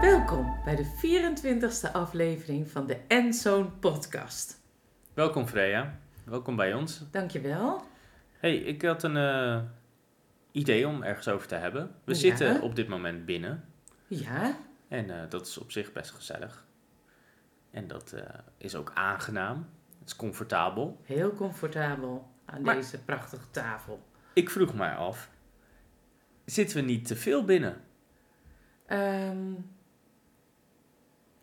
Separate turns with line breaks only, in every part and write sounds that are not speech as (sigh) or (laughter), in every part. Welkom bij de 24e aflevering van de Enzoon podcast.
Welkom Freya, welkom bij ons.
Dankjewel.
Hey, ik had een eh, idee om ergens over te hebben. We
Ja.
zitten op dit moment binnen
Ja,
en eh, dat is op zich best gezellig. En dat eh, is ook aangenaam, het is comfortabel.
heel comfortabel aan
Maar-
deze prachtige tafel.
Ik vroeg mij af, zitten we niet te veel binnen?
Ehm,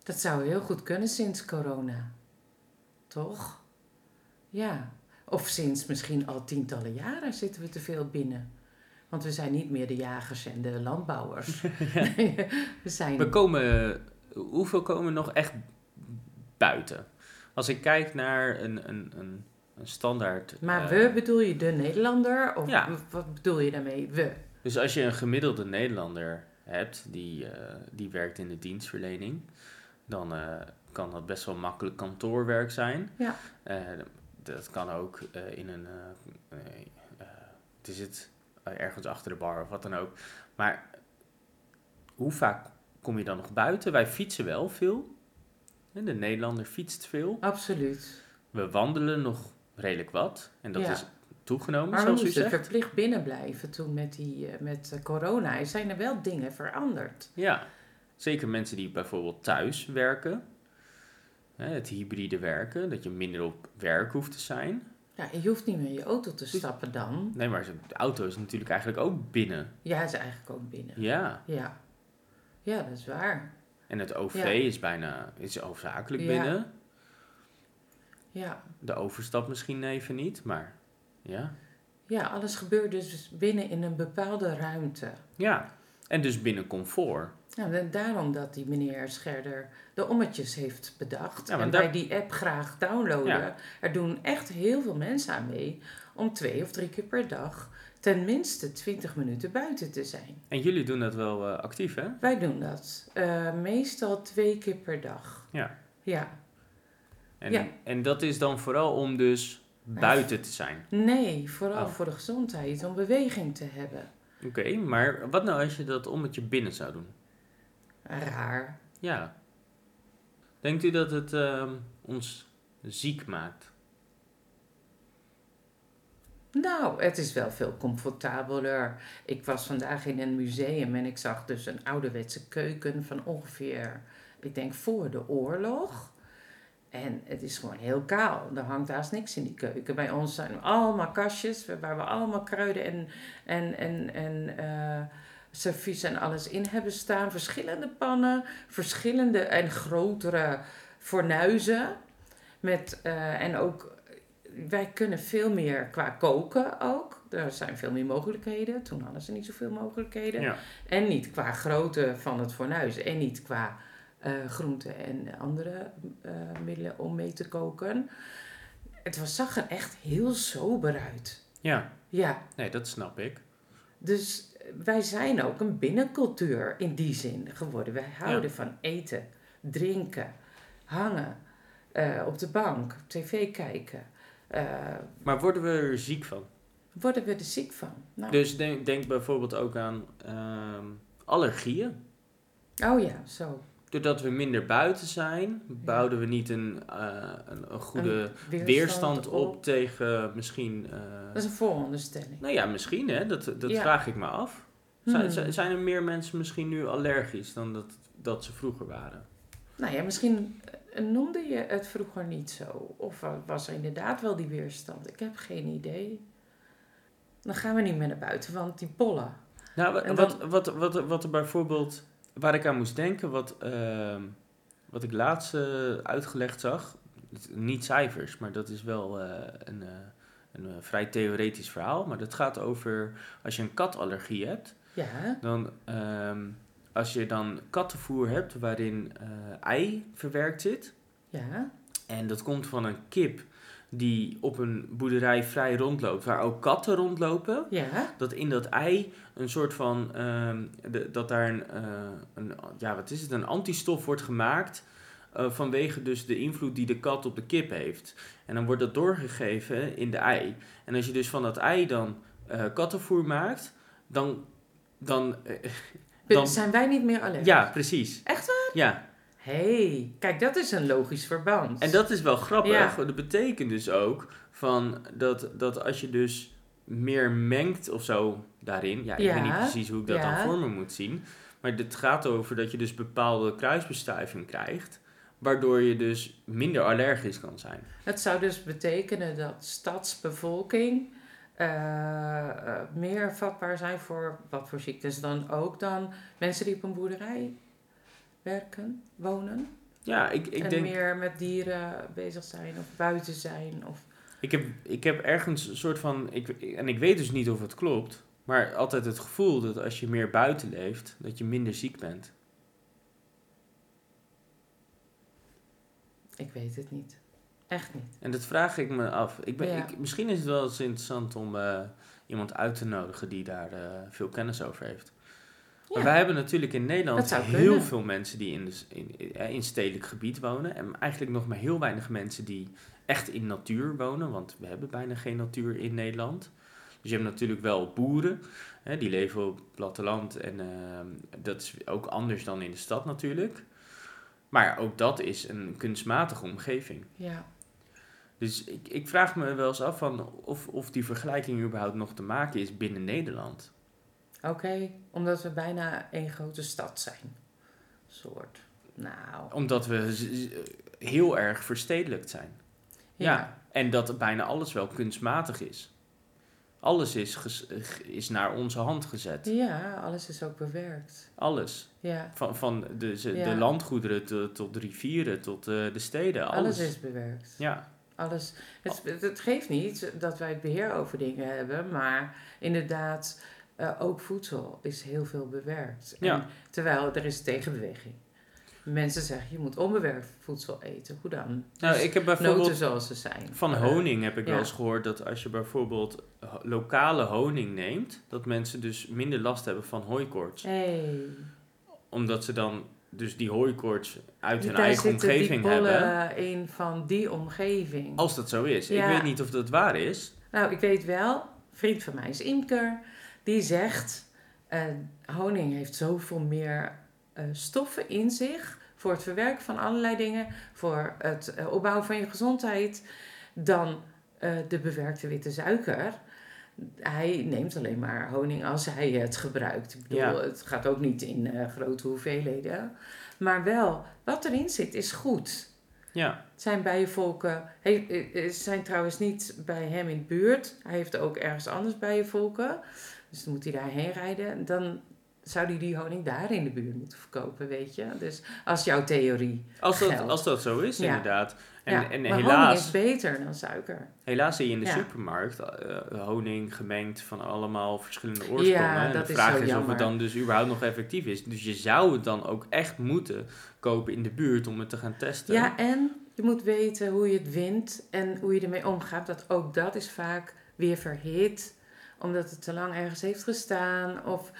dat zou heel goed kunnen sinds corona. Toch? Ja. Of sinds misschien al tientallen jaren zitten we te veel binnen. Want we zijn niet meer de jagers en de
(laughs)
landbouwers. (laughs) Nee, we zijn...
We komen, hoeveel komen nog echt buiten? Als ik kijk naar een, een, een, een standaard...
Maar
eh,
we bedoel je de Nederlander? Of
Ja.
w- wat bedoel je daarmee? We.
Dus als je een gemiddelde Nederlander hebt die, eh, die werkt in de dienstverlening, dan eh, kan dat best wel makkelijk kantoorwerk zijn.
Ja.
Eh, dat kan ook eh, in een. eh, eh, eh, het is het eh, ergens achter de bar of wat dan ook. Maar hoe vaak kom je dan nog buiten? Wij fietsen wel veel. Hè, De Nederlander fietst veel.
Absoluut.
We wandelen nog redelijk wat. En dat
Ja.
is toegenomen,
Maar we
zoals u
moesten
zegt.
verplicht binnen blijven toen met, die, eh, met eh, corona. Er zijn er wel dingen veranderd.
Ja, zeker mensen die bijvoorbeeld thuis werken. Hè, het hybride werken, dat je minder op werk hoeft te zijn.
Ja, je hoeft niet meer in je auto te stappen dan.
Nee, maar de auto is natuurlijk eigenlijk ook binnen.
Ja, is eigenlijk ook binnen.
Ja,
Ja. Ja, dat is waar.
en het OV
Ja.
is bijna is hoofdzakelijk
Ja.
binnen.
Ja.
De overstap misschien even niet, maar ja.
ja, alles gebeurt dus binnen in een bepaalde ruimte.
Ja, en dus binnen comfort.
Nou, en daarom dat die meneer Scherder de ommetjes heeft bedacht.
Ja, want
en
daar-
wij die app graag downloaden.
Ja.
Er doen echt heel veel mensen aan mee om twee of drie keer per dag tenminste 20 minuten buiten te zijn.
En jullie doen dat wel eh, actief, hè?
Wij doen dat eh, meestal twee keer per dag.
Ja.
Ja.
En,
Ja.
en dat is dan vooral om dus buiten te zijn.
Nee, vooral
Oh.
voor de gezondheid, om beweging te hebben.
Oké, maar wat nou als je dat ommetje binnen zou doen?
Raar.
Ja. Denkt u dat het ehm, ons ziek maakt?
Nou, het is wel veel comfortabeler. Ik was vandaag in een museum en ik zag dus een ouderwetse keuken van ongeveer, ik denk voor de oorlog. En het is gewoon heel kaal. Er hangt haast niks in die keuken. Bij ons zijn allemaal kastjes waar we allemaal kruiden en, en, en, en eh servies en alles in hebben staan. Verschillende pannen, verschillende en grotere fornuizen. Met, eh, en ook wij kunnen veel meer qua koken ook. Er zijn veel meer mogelijkheden. Toen hadden ze niet zoveel mogelijkheden. En niet qua grootte van het fornuis. En niet qua eh groenten en andere eh, middelen om mee te koken. Het was, zag er echt heel sober uit.
Ja,
Ja,
nee, dat snap ik.
dus wij zijn ook een binnencultuur in die zin geworden. Wij houden van eten, drinken, hangen, eh, op de bank, tv kijken. Eh,
Maar worden we er ziek van?
worden we er ziek van? Nou,
Dus denk, denk bijvoorbeeld ook aan ehm, allergieën.
Oh ja, zo.
Doordat we minder buiten zijn, bouwen we niet een, eh, een, een goede
Een
weerstand, op, tegen misschien. eh,
Dat is een vooronderstelling.
nou ja, misschien hè, dat, dat
Ja.
vraag ik me af. Zijn,
Hmm.
zijn- zijn er meer mensen misschien nu allergisch dan dat, dat ze vroeger waren?
Nou ja, misschien eh, noemde je het vroeger niet zo. Of eh, was er inderdaad wel die weerstand? Ik heb geen idee. Dan gaan we niet meer naar buiten, want die pollen.
Nou, wa-
En
wat, wat, wat, wat er bijvoorbeeld, waar ik aan moest denken, wat, ehm, wat ik laatst eh, uitgelegd zag, het- niet cijfers, maar dat is wel eh, een, eh, een eh, vrij theoretisch verhaal, maar dat gaat over als je een katallergie hebt,
Ja,
dan ehm, als je dan kattenvoer hebt waarin eh, ei verwerkt zit,
ja,
en dat komt van een kip die op een boerderij vrij rondloopt, waar ook katten rondlopen
ja.
dat in dat ei een soort van ehm, de- dat daar een, eh, een ja wat is het een antistof wordt gemaakt eh, vanwege dus de invloed die de kat op de kip heeft. En dan wordt dat doorgegeven in de ei. En als je dus van dat ei dan eh, kattenvoer maakt, dan... dan eh, Dan-
Zijn wij niet meer alleen?
ja, precies.
Echt
waar? Ja,
hey, kijk, dat is een logisch verband.
en dat is wel grappig.
Ja.
want Dat betekent dus ook van dat, dat als je dus meer mengt of zo daarin... Ja, ik
Ja.
weet niet precies hoe ik dat
Ja.
dan voor me moet zien. Maar het gaat over dat je dus bepaalde kruisbestuiving krijgt... waardoor je dus minder allergisch kan zijn.
Het zou dus betekenen dat stadsbevolking eh, eh, meer vatbaar zijn voor wat voor ziektes dan ook dan mensen die op een boerderij werken, wonen.
Ja, ik, ik
en
denk...
meer met dieren bezig zijn of buiten zijn. Of...
Ik heb, ik heb ergens een soort van. Ik, en ik weet dus niet of het klopt. Maar altijd het gevoel dat als je meer buiten leeft, dat je minder ziek bent.
Ik weet het niet. Echt niet.
En dat vraag ik me af. Ik ben,
Ja.
ik, misschien is het wel eens interessant om eh, iemand uit te nodigen die daar eh, veel kennis over heeft. Maar
Ja.
wij hebben natuurlijk in Nederland
Dat zou
heel
kunnen.
veel mensen die in, de, s- in, in- eh, in stedelijk gebied wonen. En eigenlijk nog maar heel weinig mensen die echt in natuur wonen. Want we hebben bijna geen natuur in Nederland. Dus je hebt natuurlijk wel boeren. Hè, die leven op het platteland. En eh, dat is ook anders dan in de stad natuurlijk. Maar ook dat is een kunstmatige omgeving.
Ja.
Dus ik, ik vraag me wel eens af van of, of die vergelijking überhaupt nog te maken is binnen Nederland.
Oké, omdat we bijna één grote stad zijn. Soort. Nou.
Omdat we z- z- heel erg verstedelijkt zijn. Ja. En dat bijna alles wel kunstmatig is. Alles is, ges- g- is naar onze hand gezet.
Ja, alles is ook bewerkt.
Alles.
Ja,
Van, van de, ze-
Ja.
de landgoederen tot, tot de rivieren, tot eh, de steden. Alles.
alles is bewerkt.
Ja,
Alles.
Oh.
Het, het geeft niet dat wij het beheer over dingen hebben, maar inderdaad, eh, ook voedsel is heel veel bewerkt. En
Ja.
terwijl er is tegenbeweging. Mensen zeggen, je moet onbewerkt voedsel eten. Hoe dan?
nou,
Dus
ik heb
Noten
bijvoorbeeld
zoals ze zijn.
van
Eh,
honing heb ik wel
ja.
eens gehoord dat als je bijvoorbeeld ho- lokale honing neemt, dat mensen dus minder last hebben van hooikoorts.
Hey,
Omdat ze dan dus die hooikoorts uit hun
daar
eigen
zitten
omgeving
die pollen
hebben.
in van die omgeving.
Als dat zo is.
Ja.
Ik weet niet of dat waar is.
Nou, ik weet wel, een vriend van mij is imker. Die zegt, eh, honing heeft zoveel meer eh, stoffen in zich... voor het verwerken van allerlei dingen... voor het eh, opbouwen van je gezondheid... dan eh, de bewerkte witte suiker. Hij neemt alleen maar honing als hij het gebruikt. Ik bedoel,
Ja.
het gaat ook niet in eh, grote hoeveelheden. Maar wel, wat erin zit is goed
Ja,
zijn bijenvolken. He, eh, eh, zijn trouwens niet bij hem in de buurt. Hij heeft ook ergens anders bijenvolken. Dus dan moet hij daarheen rijden. Dan zou hij die honing daar in de buurt moeten verkopen, weet je. Dus als jouw theorie.
als dat,
Geld.
als dat zo is
Ja.
inderdaad. En,
ja,
en
maar honing is
helaas,
beter dan suiker.
helaas zie je in de
Ja.
supermarkt eh, honing gemengd van allemaal verschillende oorsprongen.
Ja,
en
dat
de
is
vraag
zo
is, of
jammer.
het dan dus überhaupt nog effectief is. Dus je zou het dan ook echt moeten kopen in de buurt om het te gaan testen.
Ja, en je moet weten hoe je het wint en hoe je ermee omgaat. Dat ook dat is vaak weer verhit, omdat het te lang ergens heeft gestaan. Of,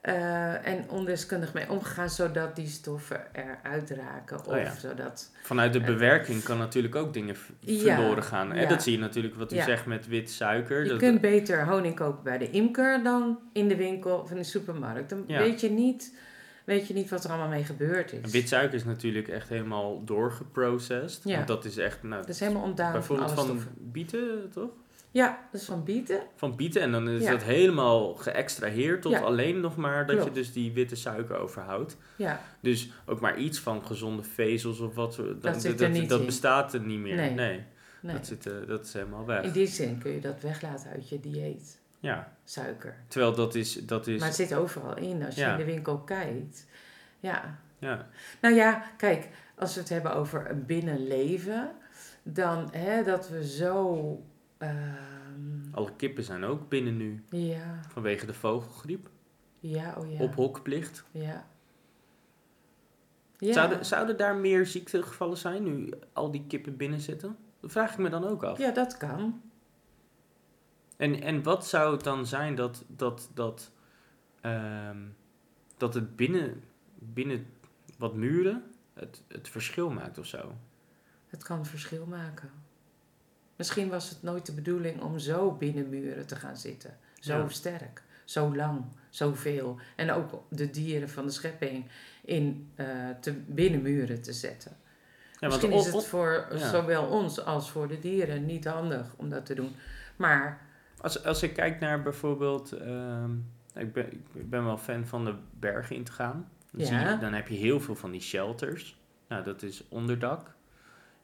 eh, en ondeskundig mee omgegaan, zodat die stoffen eruit raken. Of
Oh ja.
zodat...
Vanuit de
Eh,
bewerking kan natuurlijk ook dingen v-
Ja,
verloren gaan. En
ja.
dat zie je natuurlijk wat u
Ja.
zegt met wit suiker.
Je
dat-
kunt beter honing kopen bij de imker dan in de winkel of in de supermarkt. Dan
Ja.
weet, je niet, weet je niet wat er allemaal mee gebeurd
En
is.
wit suiker is natuurlijk echt helemaal doorgeprocessed.
Ja.
Want dat is echt, nou,
Dat is helemaal ontdaan van alle
bijvoorbeeld van
stoffen.
bieten, toch?
Ja, dat is van bieten.
Van bieten en dan is
Ja.
dat helemaal geëxtraheerd tot
Ja.
alleen nog maar dat je
Klopt.
dus die witte suiker overhoudt.
Ja,
Dus ook maar iets van gezonde vezels of wat, dat, dat,
zit er
dat,
niet
dat
in.
bestaat er niet meer. Nee,
Nee. nee.
Dat, zit, eh, dat is helemaal weg.
In die zin kun je dat weglaten uit je dieet.
Ja,
Suiker.
terwijl dat is, dat is
Maar het zit overal in als je
Dus- Ja.
in de winkel kijkt. Ja.
ja,
Nou ja, kijk, als we het hebben over een binnenleven, dan hè, dat we zo. ehm,
alle kippen zijn ook binnen nu
ja,
vanwege de vogelgriep.
ja, oh ja.
Ophokplicht.
Ja. Ja.
Zouden, zouden daar meer ziektegevallen zijn nu al die kippen binnen zitten? Dat vraag ik me dan ook af.
ja, dat kan.
En, en wat zou het dan zijn dat, dat, dat, ehm, dat het binnen, binnen wat muren het, het verschil maakt of zo.
Het kan verschil maken. Misschien was het nooit de bedoeling om zo binnen muren te gaan zitten. Zo
Ja.
sterk, zo lang, zoveel. En ook de dieren van de schepping in eh, te, binnen muren te zetten.
Ja, want
Misschien
op-
is het
op-
voor
ja.
zowel ons als voor de dieren niet handig om dat te doen. Maar
als, als ik kijk naar bijvoorbeeld, ehm, ik, ben, ik ben wel fan van de bergen in te gaan. Dan,
Ja.
zie je, dan heb je heel veel van die shelters. Nou, dat is onderdak.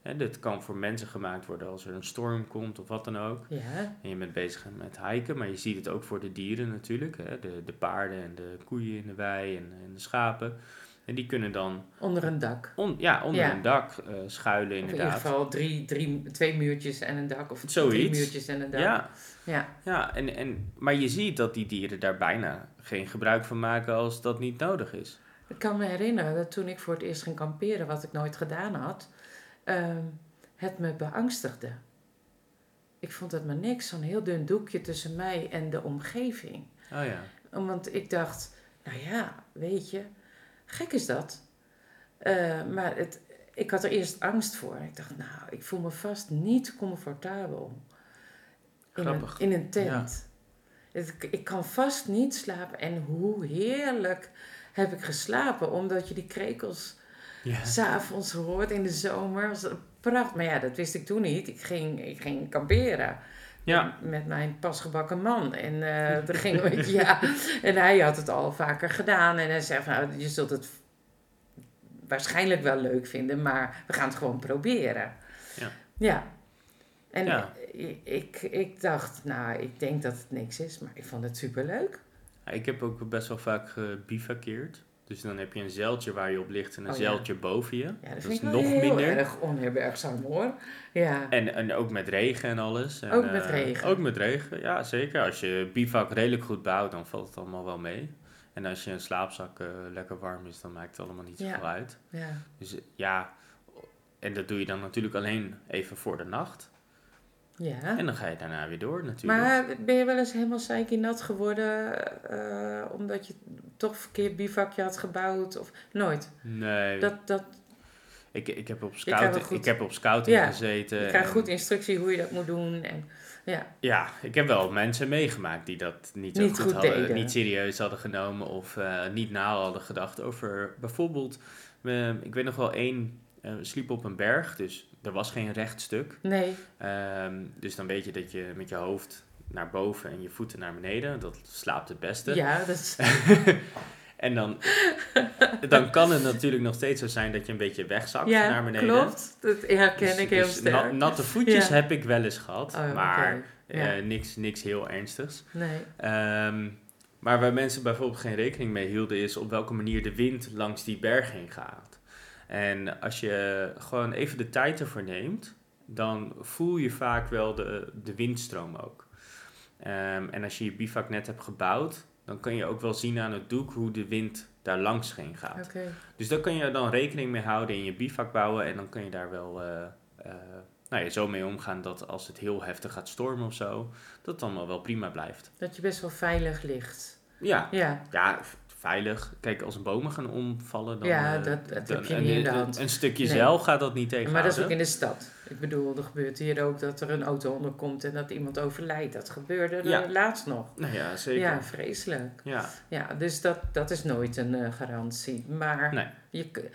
Hè, dit kan voor mensen gemaakt worden als er een storm komt of wat dan ook.
ja,
En je bent bezig met hiken, maar je ziet het ook voor de dieren natuurlijk. Hè? De, de paarden en de koeien in de wei en, en de schapen. En die kunnen dan
onder een dak.
on, ja, onder
Ja.
een dak eh, schuilen
Of in ieder
inderdaad.
geval drie, drie, twee muurtjes en een dak. Of drie
Zoiets.
muurtjes en een dak.
ja,
Ja.
ja en, en, maar je ziet dat die dieren daar bijna geen gebruik van maken als dat niet nodig is.
Ik kan me herinneren dat toen ik voor het eerst ging kamperen, wat ik nooit gedaan had, ehm, het me beangstigde. Ik vond het maar niks, zo'n heel dun doekje tussen mij en de omgeving.
Oh ja.
Want ik dacht, nou ja, weet je, gek is dat. Eh, maar het, ik had er eerst angst voor. Ik dacht, nou, ik voel me vast niet comfortabel. In een,
Grappig.
in een tent. Het- ik- ik kan vast niet slapen. En hoe heerlijk heb ik geslapen, omdat je die krekels
Ja.
s'avonds hoort in de zomer. Was prachtig. Maar ja, dat wist ik toen niet. Ik ging, ik ging kamperen.
Ja.
Met, met mijn pasgebakken man. En eh er
(laughs)
gingen we, ja. En hij had het al vaker gedaan. En hij zei van, nou, je zult het waarschijnlijk wel leuk vinden, maar we gaan het gewoon proberen.
Ja.
Ja. En
Ja.
Ik, ik, ik dacht, nou, ik denk dat het niks is, maar ik vond het superleuk.
Ik heb ook best wel vaak gebivakkeerd. Dus dan heb je een zeiltje waar je op ligt en een
Oh ja.
zeiltje boven je.
Ja, dat,
dat
vind
is
ik wel
nog
heel
minder.
erg onherbergzaam hoor. Ja.
En, en ook met regen en alles. En,
Ook met
eh,
regen.
ook met regen, ja zeker. Als je bivak redelijk goed bouwt, dan valt het allemaal wel mee. En als je een slaapzak eh, lekker warm is, dan maakt het allemaal niet
Ja.
zoveel uit.
ja.
Dus eh, ja, en dat doe je dan natuurlijk alleen even voor de nacht.
ja.
En dan ga je daarna weer door natuurlijk.
Maar ben je wel eens helemaal zeikie nat geworden eh, omdat je toch verkeerd bivakje had gebouwd? Of nooit?
nee,
Dat, dat,
ik, ik, heb op
kan wel
scouting,
goed-
ik heb op scouting
Ja,
gezeten.
je krijgt
en-
goed instructie hoe je dat moet doen. En, ja,
Ja, ik heb wel mensen meegemaakt die dat niet, zo
Niet
goed,
goed
hadden,
deden.
niet serieus hadden genomen of eh, niet na hadden gedacht over bijvoorbeeld, eh, ik weet nog wel één eh, sliep op een berg, dus er was geen recht stuk.
nee.
Ehm, dus dan weet je dat je met je hoofd naar boven en je voeten naar beneden, dat slaapt het beste.
Ja, dat is, (laughs)
En dan, dan kan het natuurlijk nog steeds zo zijn dat je een beetje wegzakt
ja
naar beneden.
klopt. Dat herken
Dus-
ik heel
dus
sterk.
nat- natte voetjes
Ja.
heb ik wel eens gehad,
Oh, oké.
maar
Ja.
eh, niks, niks heel ernstigs.
Nee.
Ehm, maar waar mensen bijvoorbeeld geen rekening mee hielden, is op welke manier de wind langs die berg heen gaat. En als je gewoon even de tijd ervoor neemt, dan voel je vaak wel de, de windstroom ook. Ehm, en als je je bivak net hebt gebouwd, dan kan je ook wel zien aan het doek hoe de wind daar langs heen gaat.
Oké.
Dus daar kan je dan rekening mee houden in je bivak bouwen. En dan kan je daar wel eh, eh, nou ja, zo mee omgaan dat als het heel heftig gaat stormen of zo, dat het allemaal wel prima blijft.
Dat je best wel veilig ligt.
Ja,
Ja,
ja, v- veilig. Kijk, als bomen gaan omvallen, dan...
Ja,
eh,
dat- dat
dan-
heb je
een-
niet in de
een-
hand.
Een stukje
Nee.
zeil gaat dat niet tegenhouden.
maar dat is ook in de stad. Ik bedoel, er gebeurt hier ook dat er een auto onderkomt en dat iemand overlijdt. Dat gebeurde er
Ja.
laatst nog.
Nou ja, zeker.
Ja,
Ja.
vreselijk. Ja, dus dat, dat is nooit een eh, garantie. Maar
Nee.
je, kun-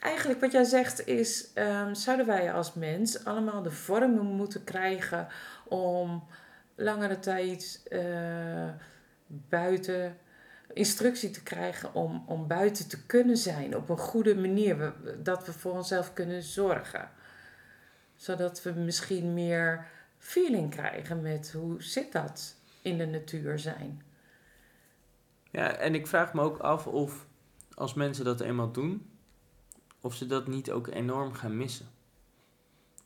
eigenlijk wat jij zegt is, ehm, zouden wij als mens allemaal de vormen moeten krijgen om langere tijd eh, buiten instructie te krijgen om, om buiten te kunnen zijn op een goede manier. We- dat we voor onszelf kunnen zorgen. Zodat we misschien meer feeling krijgen met hoe zit dat in de natuur zijn.
Ja, en ik vraag me ook af of als mensen dat eenmaal doen, of ze dat niet ook enorm gaan missen.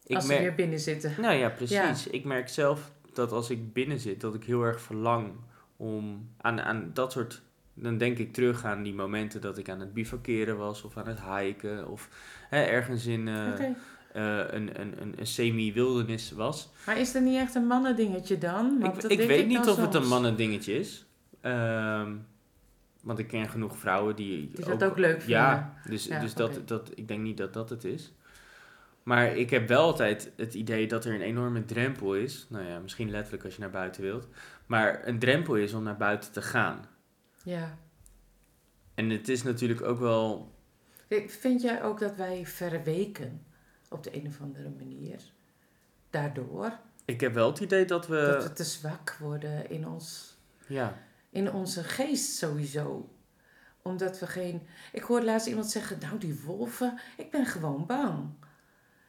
Ik
als
merk-
we weer binnen zitten.
Nou ja, precies. Ik merk zelf dat als ik binnen zit, dat ik heel erg verlang om aan, aan dat soort. Dan denk ik terug aan die momenten dat ik aan het bivakeren was of aan het hiken of hè, ergens in eh,
Oké.
eh, een, een, een, een semi-wildernis was.
Maar is dat niet echt een mannendingetje dan? Want
Ik,
dat
ik
denk
weet niet
dan
of het
soms.
een mannendingetje is. Ehm, Want ik ken genoeg vrouwen die.
Die dat ook leuk
Ja, dus,
Ja,
dus
oké.
dat, dat, ik denk niet dat dat het is. Maar ik heb wel altijd het idee dat er een enorme drempel is. Nou ja, misschien letterlijk als je naar buiten wilt. Maar een drempel is om naar buiten te gaan.
Ja.
En het is natuurlijk ook wel.
Kijk, Vind jij ook dat wij verweken op de een of andere manier? Daardoor
Ik heb wel het idee dat we.
dat we te zwak worden in, ons,
Ja,
in onze geest sowieso. Omdat we geen. Ik hoorde laatst iemand zeggen: Nou, die wolven, ik ben gewoon bang.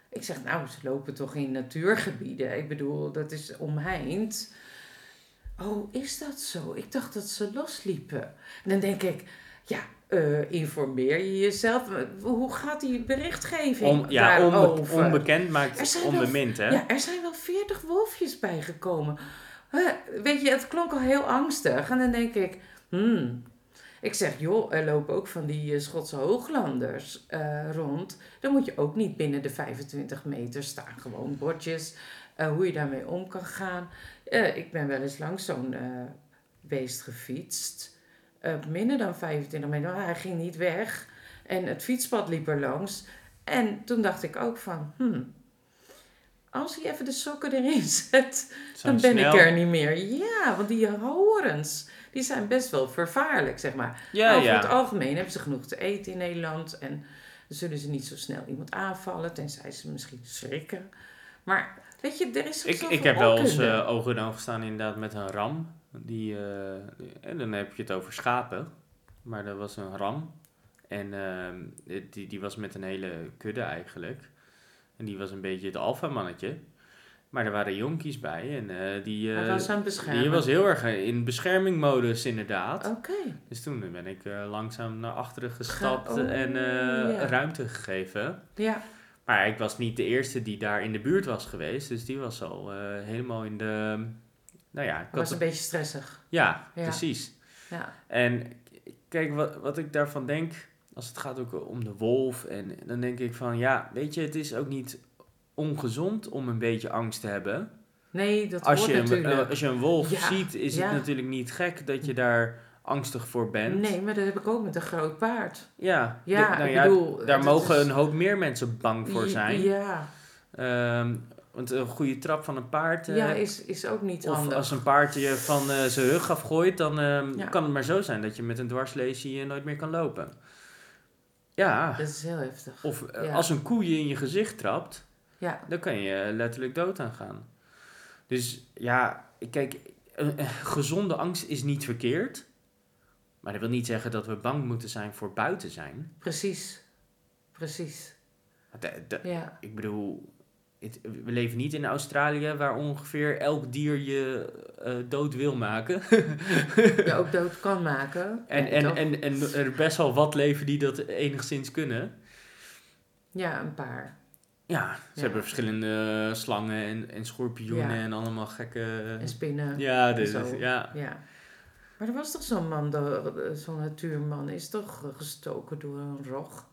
Ik zeg: Nou, ze lopen toch in natuurgebieden? Ik bedoel, dat is omheind. Oh, is dat zo? Ik dacht dat ze losliepen. En dan denk ik: Ja. eh, informeer je jezelf? Hoe gaat die berichtgeving
on, ja onbe-
daarover?
onbekend
Er
maakt
zijn wel-
onbemind, hè?
Ja, er zijn wel 40 wolfjes bijgekomen. Huh, weet je, het klonk al heel angstig. En dan denk ik, hmm. Ik zeg, joh, er lopen ook van die eh, Schotse hooglanders eh, rond. Dan moet je ook niet binnen de 25 meter staan. Gewoon bordjes, eh, hoe je daarmee om kan gaan. Eh, ik ben wel eens langs zo'n eh, beest gefietst. Op minder dan 25 meter. Maar hij ging niet weg. En het fietspad liep er langs. En toen dacht ik ook van, hmm, als hij even de sokken erin (laughs) zet, dan
Zo'n
ben
snel-
ik er niet meer. Ja, want die horens, die zijn best wel vervaarlijk, zeg maar.
Ja,
Over
ja.
het algemeen hebben ze genoeg te eten in Nederland. En dan zullen ze niet zo snel iemand aanvallen, tenzij ze misschien schrikken. Maar weet je, er is ook
Ik,
zoveel
ik heb wel eens
onkunde.
eh, oog in oog gestaan inderdaad met een ram. Die, eh, en dan heb je het over schapen. Maar dat was een ram. En ehm, die, die was met een hele kudde eigenlijk. En die was een beetje het alfamannetje. Maar er waren jonkies bij. En eh, die,
Hij
eh,
was aan het beschermen. Oh.
die was heel erg eh, in beschermingmodus inderdaad.
Oké.
Dus toen ben ik eh, langzaam naar achteren gestapt
Ga- oh,
en eh,
ja.
ruimte gegeven.
Ja,
Maar ik was niet de eerste die daar in de buurt was geweest. Dus die was al eh, helemaal in de. Nou ja, ik
was
had
een beetje stressig.
ja,
Ja.
precies.
Ja.
En k- kijk, wat, wat ik daarvan denk, als het gaat ook om de wolf, en dan denk ik van ja, weet je, het is ook niet ongezond om een beetje angst te hebben.
Nee, dat
Als
hoort
je, een,
natuurlijk.
eh, als je een wolf
Ja,
ziet, is
ja. Hm.
het natuurlijk niet gek dat je daar angstig voor bent.
nee, maar dat heb ik ook met een groot paard.
Ja,
Ja,
d- nou
ik
ja,
bedoel...
daar
dat
mogen
is-
een hoop meer mensen bang voor zijn.
Ja,
Ehm, want een goede trap van een paard. eh,
ja is, is ook niet
of
handig.
als een paard je van eh, zijn rug afgooit, dan ehm,
Ja.
kan het maar zo zijn dat je met een dwarslesie eh, nooit meer kan lopen. Ja.
Dat is heel heftig.
Of eh,
ja.
als een koe je in je gezicht trapt,
Ja,
dan kan je eh, letterlijk dood aan gaan. Dus ja, kijk, een, een gezonde angst is niet verkeerd. Maar dat wil niet zeggen dat we bang moeten zijn voor buiten zijn. eh,
precies. Precies.
De- de-
Ja,
Ik bedoel, het- we leven niet in Australië waar ongeveer elk dier je eh, dood wil maken.
je ook dood kan maken.
En,
Ja,
en,
toch?
en, en er best wel wat leven die dat enigszins kunnen.
ja, een paar.
Ja, ze
Ja.
hebben verschillende eh, slangen en, en schorpioenen
Ja.
en allemaal gekke...
En spinnen. Ja.
ja,
en
dus,
zo.
ja.
Maar er was toch zo'n man, de- zo'n natuurman, is toch eh, gestoken door een rog?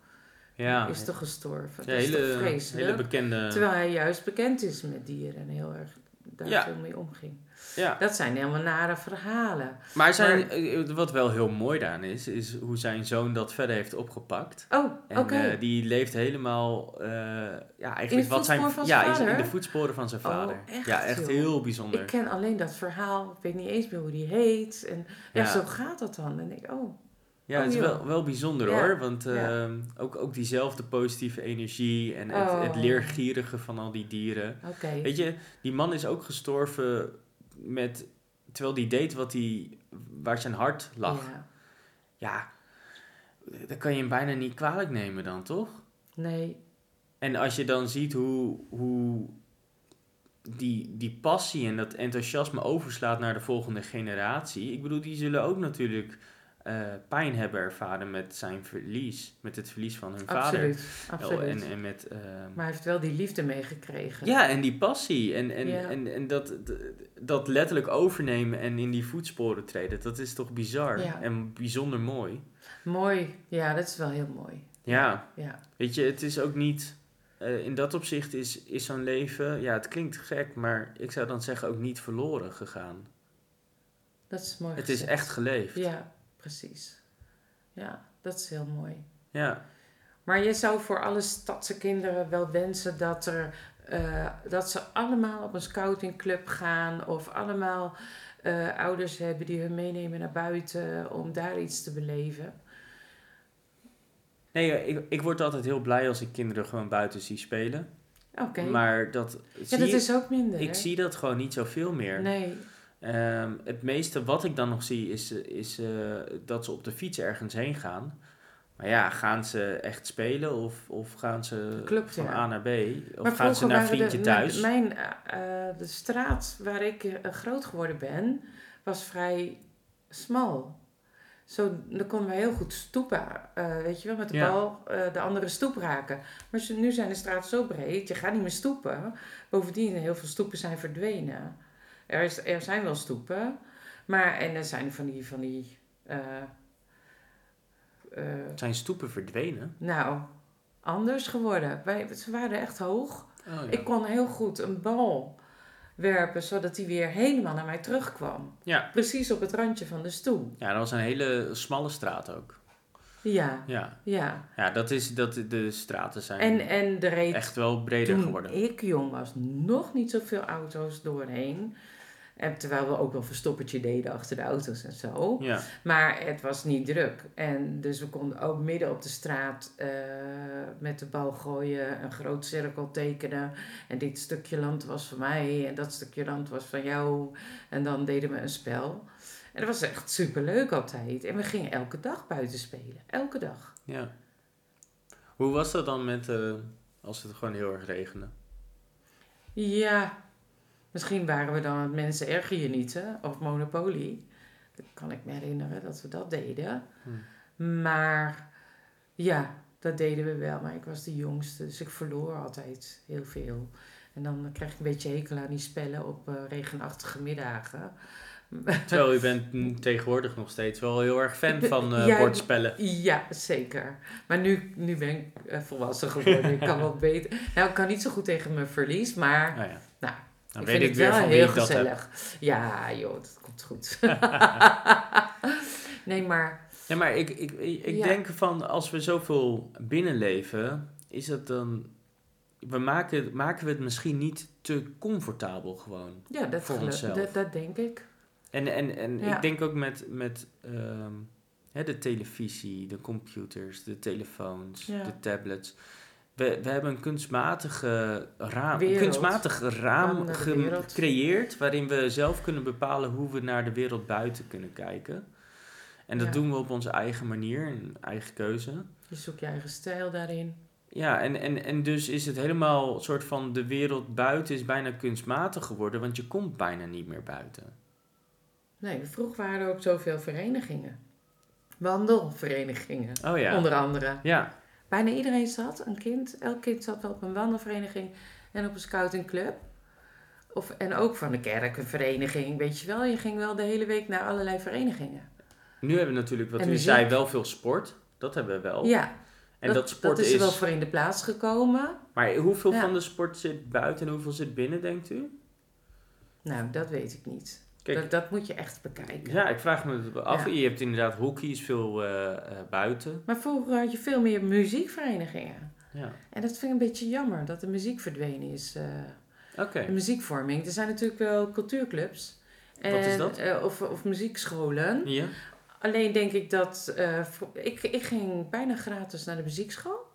ja.
Is toch gestorven?
Ja,
dat is
hele,
toch vreselijk?
hele bekende...
Terwijl hij juist bekend is met dieren en heel erg daar
Ja.
veel mee omging.
Ja.
Dat zijn helemaal nare verhalen.
Maar, er zijn, eh, wat wel heel mooi daaraan is, is hoe zijn zoon dat verder heeft opgepakt.
Oh,
En
oké.
eh, die leeft helemaal eh, ja, eigenlijk
In het
wat zijn,
voetspoor van
ja,
zijn
is- in de
vader?
voetsporen van zijn
Oh,
vader.
echt,
ja, echt
joh.
heel bijzonder.
Ik ken alleen dat verhaal. Ik weet niet eens meer hoe die heet. En ja,
Ja.
zo gaat dat dan. En ik, oh,
Ja,
Oh,
het is
joh.
wel, wel bijzonder
Ja,
hoor. Want
ja.
ehm, ook, ook diezelfde positieve energie en het,
Oh.
het leergierige van al die dieren.
oké.
Weet je, die man is ook gestorven met, terwijl hij deed wat hij, waar zijn hart lag. Ja.
Ja.
dat kan je hem bijna niet kwalijk nemen dan, toch?
Nee,
En als je dan ziet hoe, hoe die, die passie en dat enthousiasme overslaat naar de volgende generatie. Ik bedoel, die zullen ook natuurlijk eh, pijn hebben ervaren met zijn verlies. Met het verlies van hun vader.
absoluut.
Oh,
absoluut.
En, en met, ehm,
Maar hij heeft wel die liefde meegekregen.
ja, en die passie. En, en,
Ja.
en, en dat, d- dat letterlijk overnemen en in die voetsporen treden. Dat is toch bizar
Ja.
en bijzonder mooi.
Mooi. Ja, dat is wel heel mooi.
Ja.
Ja,
Weet je, het is ook niet. eh, in dat opzicht is, is zo'n leven. Ja, het klinkt gek, maar ik zou dan zeggen ook niet verloren gegaan.
dat is mooi
Het is
gezegd.
echt geleefd.
Ja, precies. Ja, dat is heel mooi.
Ja,
Maar je zou voor alle stadse kinderen wel wensen dat, er, eh, dat ze allemaal op een scoutingclub gaan. Of allemaal eh, ouders hebben die hun meenemen naar buiten om daar iets te beleven.
nee, ik, ik word altijd heel blij als ik kinderen gewoon buiten zie spelen.
Oké.
Maar dat,
Ja,
zie
dat
ik-
is ook minder. hè?
ik zie dat gewoon niet zoveel meer.
Nee.
Ehm, het meeste wat ik dan nog zie is, eh, is eh, dat ze op de fiets ergens heen gaan. Maar ja, gaan ze echt spelen of, of gaan ze
Klopt,
van
ja.
A naar B? Of
Maar
gaan ze
vroeger
naar
waren
vriendje
de,
thuis?
Mijn, mijn, eh, eh, de straat waar ik eh, groot geworden ben, was vrij smal. Zo, dan konden we heel goed stoepen, eh, weet je wel, met de
Ja.
bal eh, de andere stoep raken. Maar ze- nu zijn de straten zo breed, je gaat niet meer stoepen. Bovendien, heel veel stoepen zijn verdwenen. Er, is, er zijn wel stoepen, maar en er zijn van die, van die eh, eh,
Zijn stoepen verdwenen?
nou, anders geworden. Wij, ze waren echt hoog.
Oh, ja.
Ik kon heel goed een bal werpen, zodat hij weer helemaal naar mij terugkwam.
Ja.
Precies op het randje van de stoel.
ja, dat was een hele smalle straat ook.
Ja,
Ja,
ja.
ja dat is, dat, de straten zijn
En, en er reed
echt wel breder
toen
geworden.
ik jong was nog niet zoveel auto's doorheen. En terwijl we ook wel verstoppertje deden achter de auto's en zo.
Ja,
Maar het was niet druk. En dus we konden ook midden op de straat eh, met de bal gooien, een groot cirkel tekenen. En dit stukje land was van mij en dat stukje land was van jou. En dan deden we een spel. En dat was echt superleuk altijd. En we gingen elke dag buiten spelen. Elke dag.
ja. Hoe was dat dan met eh, als het gewoon heel erg
(laughs)
regende?
Ja, misschien waren we dan het mensen erger je niet, hè? Of Monopoly. Dat kan ik me herinneren dat we dat deden. Maar ja, dat deden we wel. Maar ik was de jongste, dus ik verloor altijd heel veel. En dan krijg ik een beetje hekel aan die spellen op eh, regenachtige middagen.
Terwijl u bent mm, tegenwoordig nog steeds wel heel erg fan van
(laughs)
eh,
Ja,
bordspellen.
Ja, zeker. Maar nu, nu ben ik eh, volwassen geworden. Ik kan wel beter. Nou, ik kan niet zo goed tegen mijn verlies, maar
Nou ja.
Nou,
dan
ik
weet
vind
ik
het
weer
wel
van wie
heel
ik dat heb.
gezellig. Ja, joh, dat komt goed.
(laughs)
nee, maar
Nee, maar ik, ik, ik, ik
Ja.
denk van als we zoveel binnenleven, is het dan. We maken, maken we het misschien niet te comfortabel gewoon.
ja, dat,
Voor
gelo-
onszelf.
dat, dat denk ik.
En, en, en
Ja.
ik denk ook met, met ehm, hè, de televisie, de computers, de telefoons,
Ja.
de tablets. We, we hebben een kunstmatige raam, een
Wereld.
kunstmatig
Raam
raam
naar de
ge-
wereld.
gecreëerd waarin we zelf kunnen bepalen hoe we naar de wereld buiten kunnen kijken. En dat
Ja.
doen we op onze eigen manier, een eigen keuze.
Je zoekt je eigen stijl daarin.
Ja, en, en, en dus is het helemaal een soort van de wereld buiten is bijna kunstmatig geworden, want je komt bijna niet meer buiten.
Nee, vroeger waren er ook zoveel verenigingen. Wandelverenigingen,
Oh ja.
onder andere.
Ja,
Bijna iedereen zat, een kind. Elk kind zat wel op een wandelvereniging en op een scoutingclub. Of, en ook van de kerk, een vereniging, weet je wel. Je ging wel de hele week naar allerlei verenigingen.
Nu hebben we natuurlijk, wat
En
u
muziek.
zei, wel veel sport. Dat hebben we wel.
Ja,
Oh. en dat, sport
dat is,
is...
er wel voor in de plaats gekomen.
Maar hoeveel
Ja.
van de sport zit buiten en hoeveel zit binnen, denkt u?
Nou, dat weet ik niet.
Kijk,
dat, dat moet je echt bekijken.
ja, ik vraag me dat af.
Ja.
Je hebt inderdaad hockey, is veel eh, eh, buiten.
Maar vroeger had je veel meer muziekverenigingen.
Ja,
En dat vind ik een beetje jammer dat de muziek verdwenen is. eh,
oké.
De muziekvorming. Er zijn natuurlijk wel cultuurclubs. En,
Wat is dat?
eh, of, of muziekscholen.
Ja?
Alleen denk ik dat. eh, voor- ik, ik ging bijna gratis naar de muziekschool.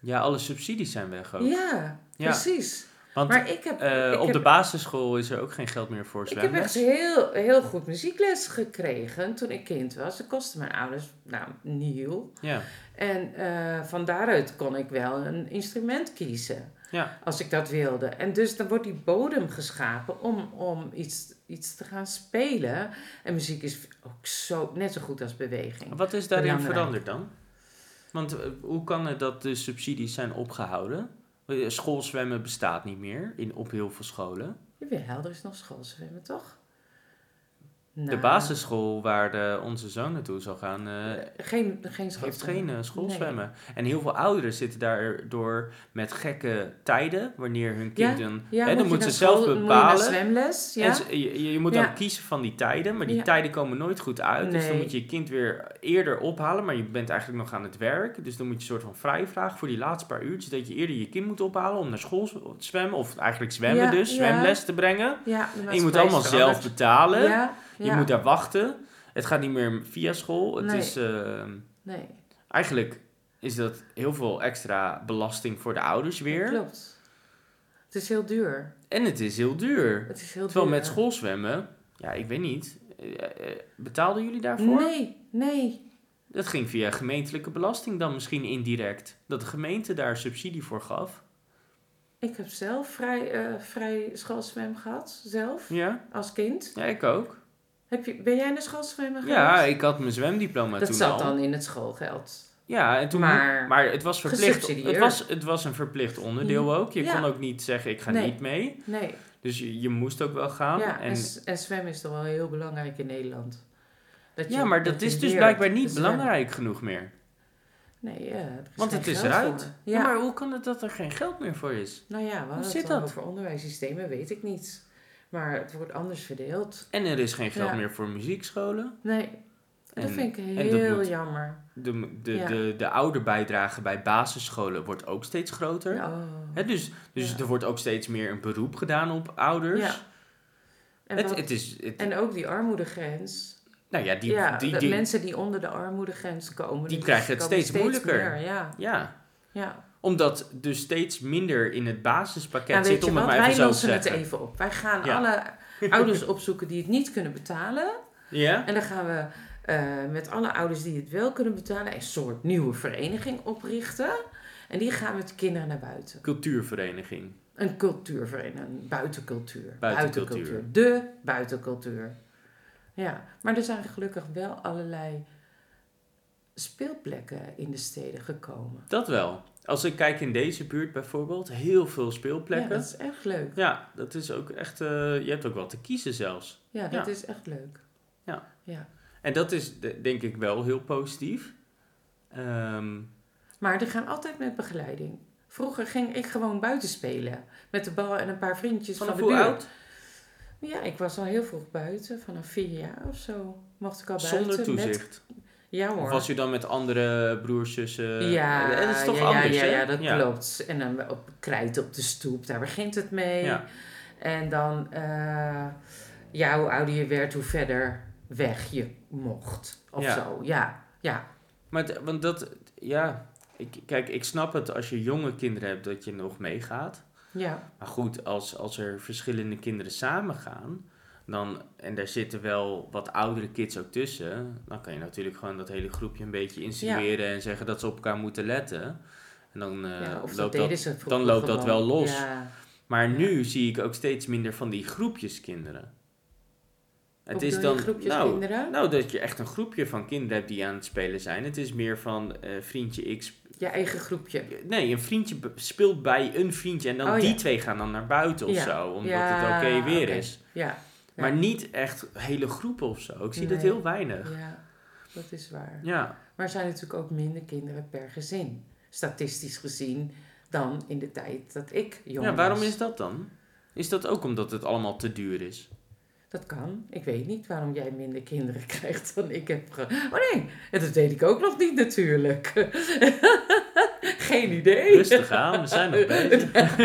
ja, alle subsidies zijn weg ook.
Oh. Ja,
Ja,
precies.
Want
maar ik heb.
eh,
ik
op
heb,
de basisschool is er ook geen geld meer voor
Ik heb echt
zwemles.
heel, heel goed muziekles gekregen toen ik kind was. Dat kostte mijn ouders, nou, nieuw.
Ja,
En eh, van daaruit kon ik wel een instrument kiezen.
Ja.
Als ik dat wilde. En dus dan wordt die bodem geschapen om, om iets, iets te gaan spelen. En muziek is ook zo, net zo goed als beweging.
wat is daarin
Belangrijk.
veranderd dan? Want eh, hoe kan het dat de subsidies zijn opgehouden? Eh, Schoolzwemmen bestaat niet meer in, op heel veel scholen.
Jawel, er is nog schoolzwemmen, toch?
De
Nou,
basisschool waar de, onze zoon naartoe zal gaan, eh,
Geen, geen school.
heeft geen eh, schoolzwemmen.
Nee.
En heel veel ouderen zitten daardoor met gekke tijden, wanneer hun
Ja,
kind een...
Ja,
hè, dan
moet je
moeten ze
naar
zelf
school- moet je naar
bepalen.
zwemles, ja.
En ze- je, je moet
Ja.
dan kiezen van die tijden, maar die
Ja.
tijden komen nooit goed uit. Dus dan
Nee.
moet je je kind weer eerder ophalen, maar je bent eigenlijk nog aan het werk. Dus dan moet je een soort van vrijvraag voor die laatste paar uurtjes. Dat je eerder je kind moet ophalen om naar school z- te zwemmen, of eigenlijk zwemmen
Ja,
dus,
ja.
zwemles te brengen.
ja, de
En je moet
maatschappij
allemaal
is
zelf
veranderd.
betalen.
Ja,
Je
ja.
moet daar wachten. Het gaat niet meer via school. Het
Nee.
is, eh,
Nee,
eigenlijk is dat heel veel extra belasting voor de ouders weer.
klopt. Het is heel duur.
En het is heel duur.
Het is heel
Terwijl
duur.
met schoolzwemmen, ja, ik weet niet. eh, eh, Betaalden jullie daarvoor?
Nee, nee.
Dat ging via gemeentelijke belasting dan misschien indirect. Dat de gemeente daar subsidie voor gaf.
Ik heb zelf vrij, eh vrij schoolzwem gehad, zelf,
Ja,
als kind.
ja ik ook.
Heb je, ben jij naar schoolzwemmen
Ja,
geweest?
ik had mijn zwemdiploma
Dat
toen
zat
al.
dan in het schoolgeld.
Ja, en toen maar,
Maar-
het was verplicht.
Gesubsidieerd. Mm.
Het was, het was een verplicht onderdeel ook. Je
Ja.
kon ook niet zeggen ik ga
Nee.
niet mee.
Nee,
Dus je, je moest ook wel gaan.
ja, en,
en
s- en zwemmen is toch wel heel belangrijk in Nederland. Dat je-
Ja, maar dat
je
is dus
leert
blijkbaar
te
niet
zwemmen.
belangrijk genoeg meer.
Nee, ja, er is
Want
geen
het is
geld
eruit.
voor.
Ja.
Ja.
maar hoe kan het dat er geen geld meer voor is?
Nou ja, we hadden
zit
het al
dat?
over onderwijssystemen, weet ik niet. Maar het wordt anders verdeeld.
En er is geen geld
Ja.
meer voor muziekscholen.
Nee, dat
En-
vind ik
en dat
heel
moet-
jammer.
De, de,
Ja.
de, de ouderbijdrage bij basisscholen wordt ook steeds groter.
Oh.
Hè, dus dus
Ja.
er wordt ook steeds meer een beroep gedaan op ouders.
Ja. En,
dus- het,
wat-
het is, het-
en ook die armoedegrens.
nou ja, die,
ja,
die,
dat
die-
mensen die onder de armoedegrens komen.
Die
dus
krijgen het
komen
steeds moeilijker.
meer, ja,
ja,
ja.
omdat dus steeds minder in het basispakket
Ja,
zit,
weet je
om het
wat?
maar even
Wij
zo te
lossen het
zeggen.
even op. Wij gaan
Ja. (laughs)
alle ouders opzoeken die het niet kunnen betalen.
Ja?
En dan gaan we eh, met alle ouders die het wel kunnen betalen... een soort nieuwe vereniging oprichten. En die gaan met kinderen naar buiten.
Cultuurvereniging.
Een cultuurvereniging, een buitencultuur.
Buitencultuur.
De buitencultuur. Ja, maar er zijn gelukkig wel allerlei speelplekken in de steden gekomen.
Dat wel. Als ik kijk in deze buurt bijvoorbeeld, heel veel
Ja,
speelplekken.
dat is echt leuk.
Ja, dat is ook echt. eh, je hebt ook wel te kiezen zelfs.
Ja, dat
Ja.
is echt leuk.
Ja.
ja.
En dat is de- denk ik wel heel positief. Ehm,
Maar die gaan altijd met begeleiding. Vroeger ging ik gewoon buiten spelen. Met de bal en een paar vriendjes van,
vanaf
de
hoe
buurt.
oud?
Ja, ik was al heel vroeg buiten. Vanaf vier jaar of zo mocht ik al buiten.
Zonder
Met...
toezicht.
Ja
Of
hoor.
was u dan met andere broers, zussen?
ja,
eh, En dat is toch
ja, ja,
anders,
ja,
hè?
ja, dat klopt. En dan op krijt op de stoep, daar begint het mee.
Ja.
En dan, eh, ja, hoe ouder je werd, hoe verder weg je mocht. Of
Ja.
zo, ja. Ja,
Maar het- want dat, ja, ik, kijk, ik snap het als je jonge kinderen hebt dat je nog meegaat.
ja.
Maar goed, als, als er verschillende kinderen samengaan, dan, en daar zitten wel wat oudere kids ook tussen, dan kan je natuurlijk gewoon dat hele groepje een beetje insinueren en zeggen dat ze op elkaar moeten letten. En dan eh,
ja of dat
loopt dat.
deden ze vroeger
loopt dat
gewoon.
wel los.
Ja.
Maar nu zie ik ook steeds minder van die groepjes kinderen. Het
Hoe
is
bedoel
dan.
je, groepjes
nou,
kinderen?
nou, dat je echt een groepje van kinderen hebt die aan het spelen zijn. Het is meer van eh, vriendje X.
Je eigen groepje.
Nee, een vriendje be- speelt bij een vriendje. En dan
Oh,
die
ja.
twee gaan dan naar buiten of
Ja.
zo. Omdat
Ja,
het oké weer
oké.
is.
Ja, Ja.
Maar niet echt hele groepen of zo. Ik zie dat
Nee.
heel weinig.
ja, dat is waar.
Ja,
Maar er zijn natuurlijk ook minder kinderen per gezin, statistisch gezien, dan in de tijd dat ik jong
ja waarom
was.
is dat dan? Is dat ook omdat het allemaal te duur is?
Dat kan. Ik weet niet waarom jij minder kinderen (laughs) krijgt dan ik heb. Ge... Oh nee, en dat weet ik ook nog niet natuurlijk. (laughs) Geen idee.
Rustig aan, we
(laughs)
zijn nog bezig.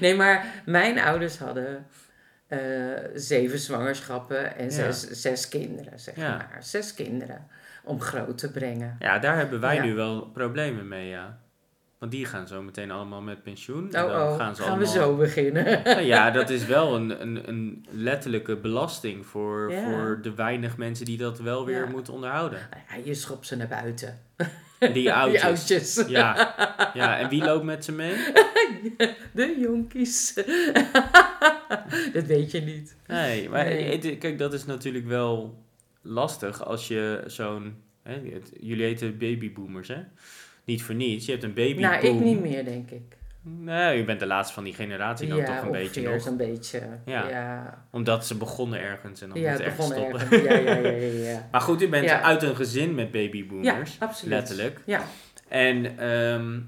nee, maar mijn ouders hadden eh, zeven zwangerschappen en
Ja.
zes, zes kinderen, zeg
Ja.
maar. Zes kinderen om groot te brengen.
Ja, daar hebben wij
Ja.
nu wel problemen mee, ja. Want die gaan zo meteen allemaal met pensioen.
Oh, oh, gaan, we zo beginnen. (laughs)
Nou ja, dat is wel een, een, een letterlijke belasting voor,
Ja.
voor de weinig mensen die dat wel weer
Ja.
moeten
(laughs)
onderhouden.
Ja, je schopt ze naar buiten.
Die oudjes.
Die oudjes.
Ja. ja, en wie loopt met ze mee?
De jonkies. (laughs) dat weet je niet.
Nee, maar
Nee.
het- kijk, dat is natuurlijk wel lastig als je zo'n... Hè, het- jullie heten babyboomers, hè? Niet voor niets. Je hebt een babyboom.
nou, ik niet Nou, meer, denk ik.
Nee, je bent de laatste van die generatie dan toch een beetje nog.
zo'n beetje.
Ja.
Ja, ja.
Omdat ze begonnen ergens en dan moet
het
het ergens
begon
stoppen.
ergens. Ja, ja, ja, ja.
(laughs)
ja.
Maar goed, u bent
Ja.
uit een gezin met babyboomers.
Ja, absoluut.
Letterlijk.
Ja.
En ehm,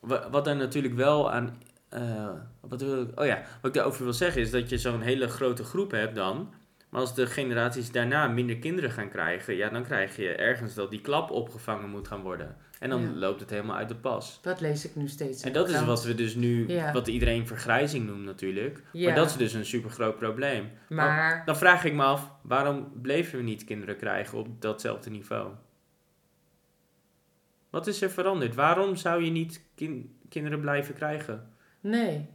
wa- wat er natuurlijk wel aan. eh, wat, wil ik, oh ja, wat ik daarover wil zeggen is dat je zo'n hele grote groep hebt dan. Maar als de generaties daarna minder kinderen gaan krijgen, ja, dan krijg je ergens dat die klap opgevangen moet gaan worden. En dan
Ja.
loopt het helemaal uit de pas.
Dat lees ik nu steeds. in
En
de
dat is
krant.
wat we dus nu,
Ja.
wat iedereen vergrijzing noemt natuurlijk.
Ja,
Maar dat is dus een super groot probleem.
maar
Dan vraag ik me af, waarom bleven we niet kinderen krijgen op datzelfde niveau? Wat is er veranderd? Waarom zou je niet kin- kinderen blijven krijgen?
nee.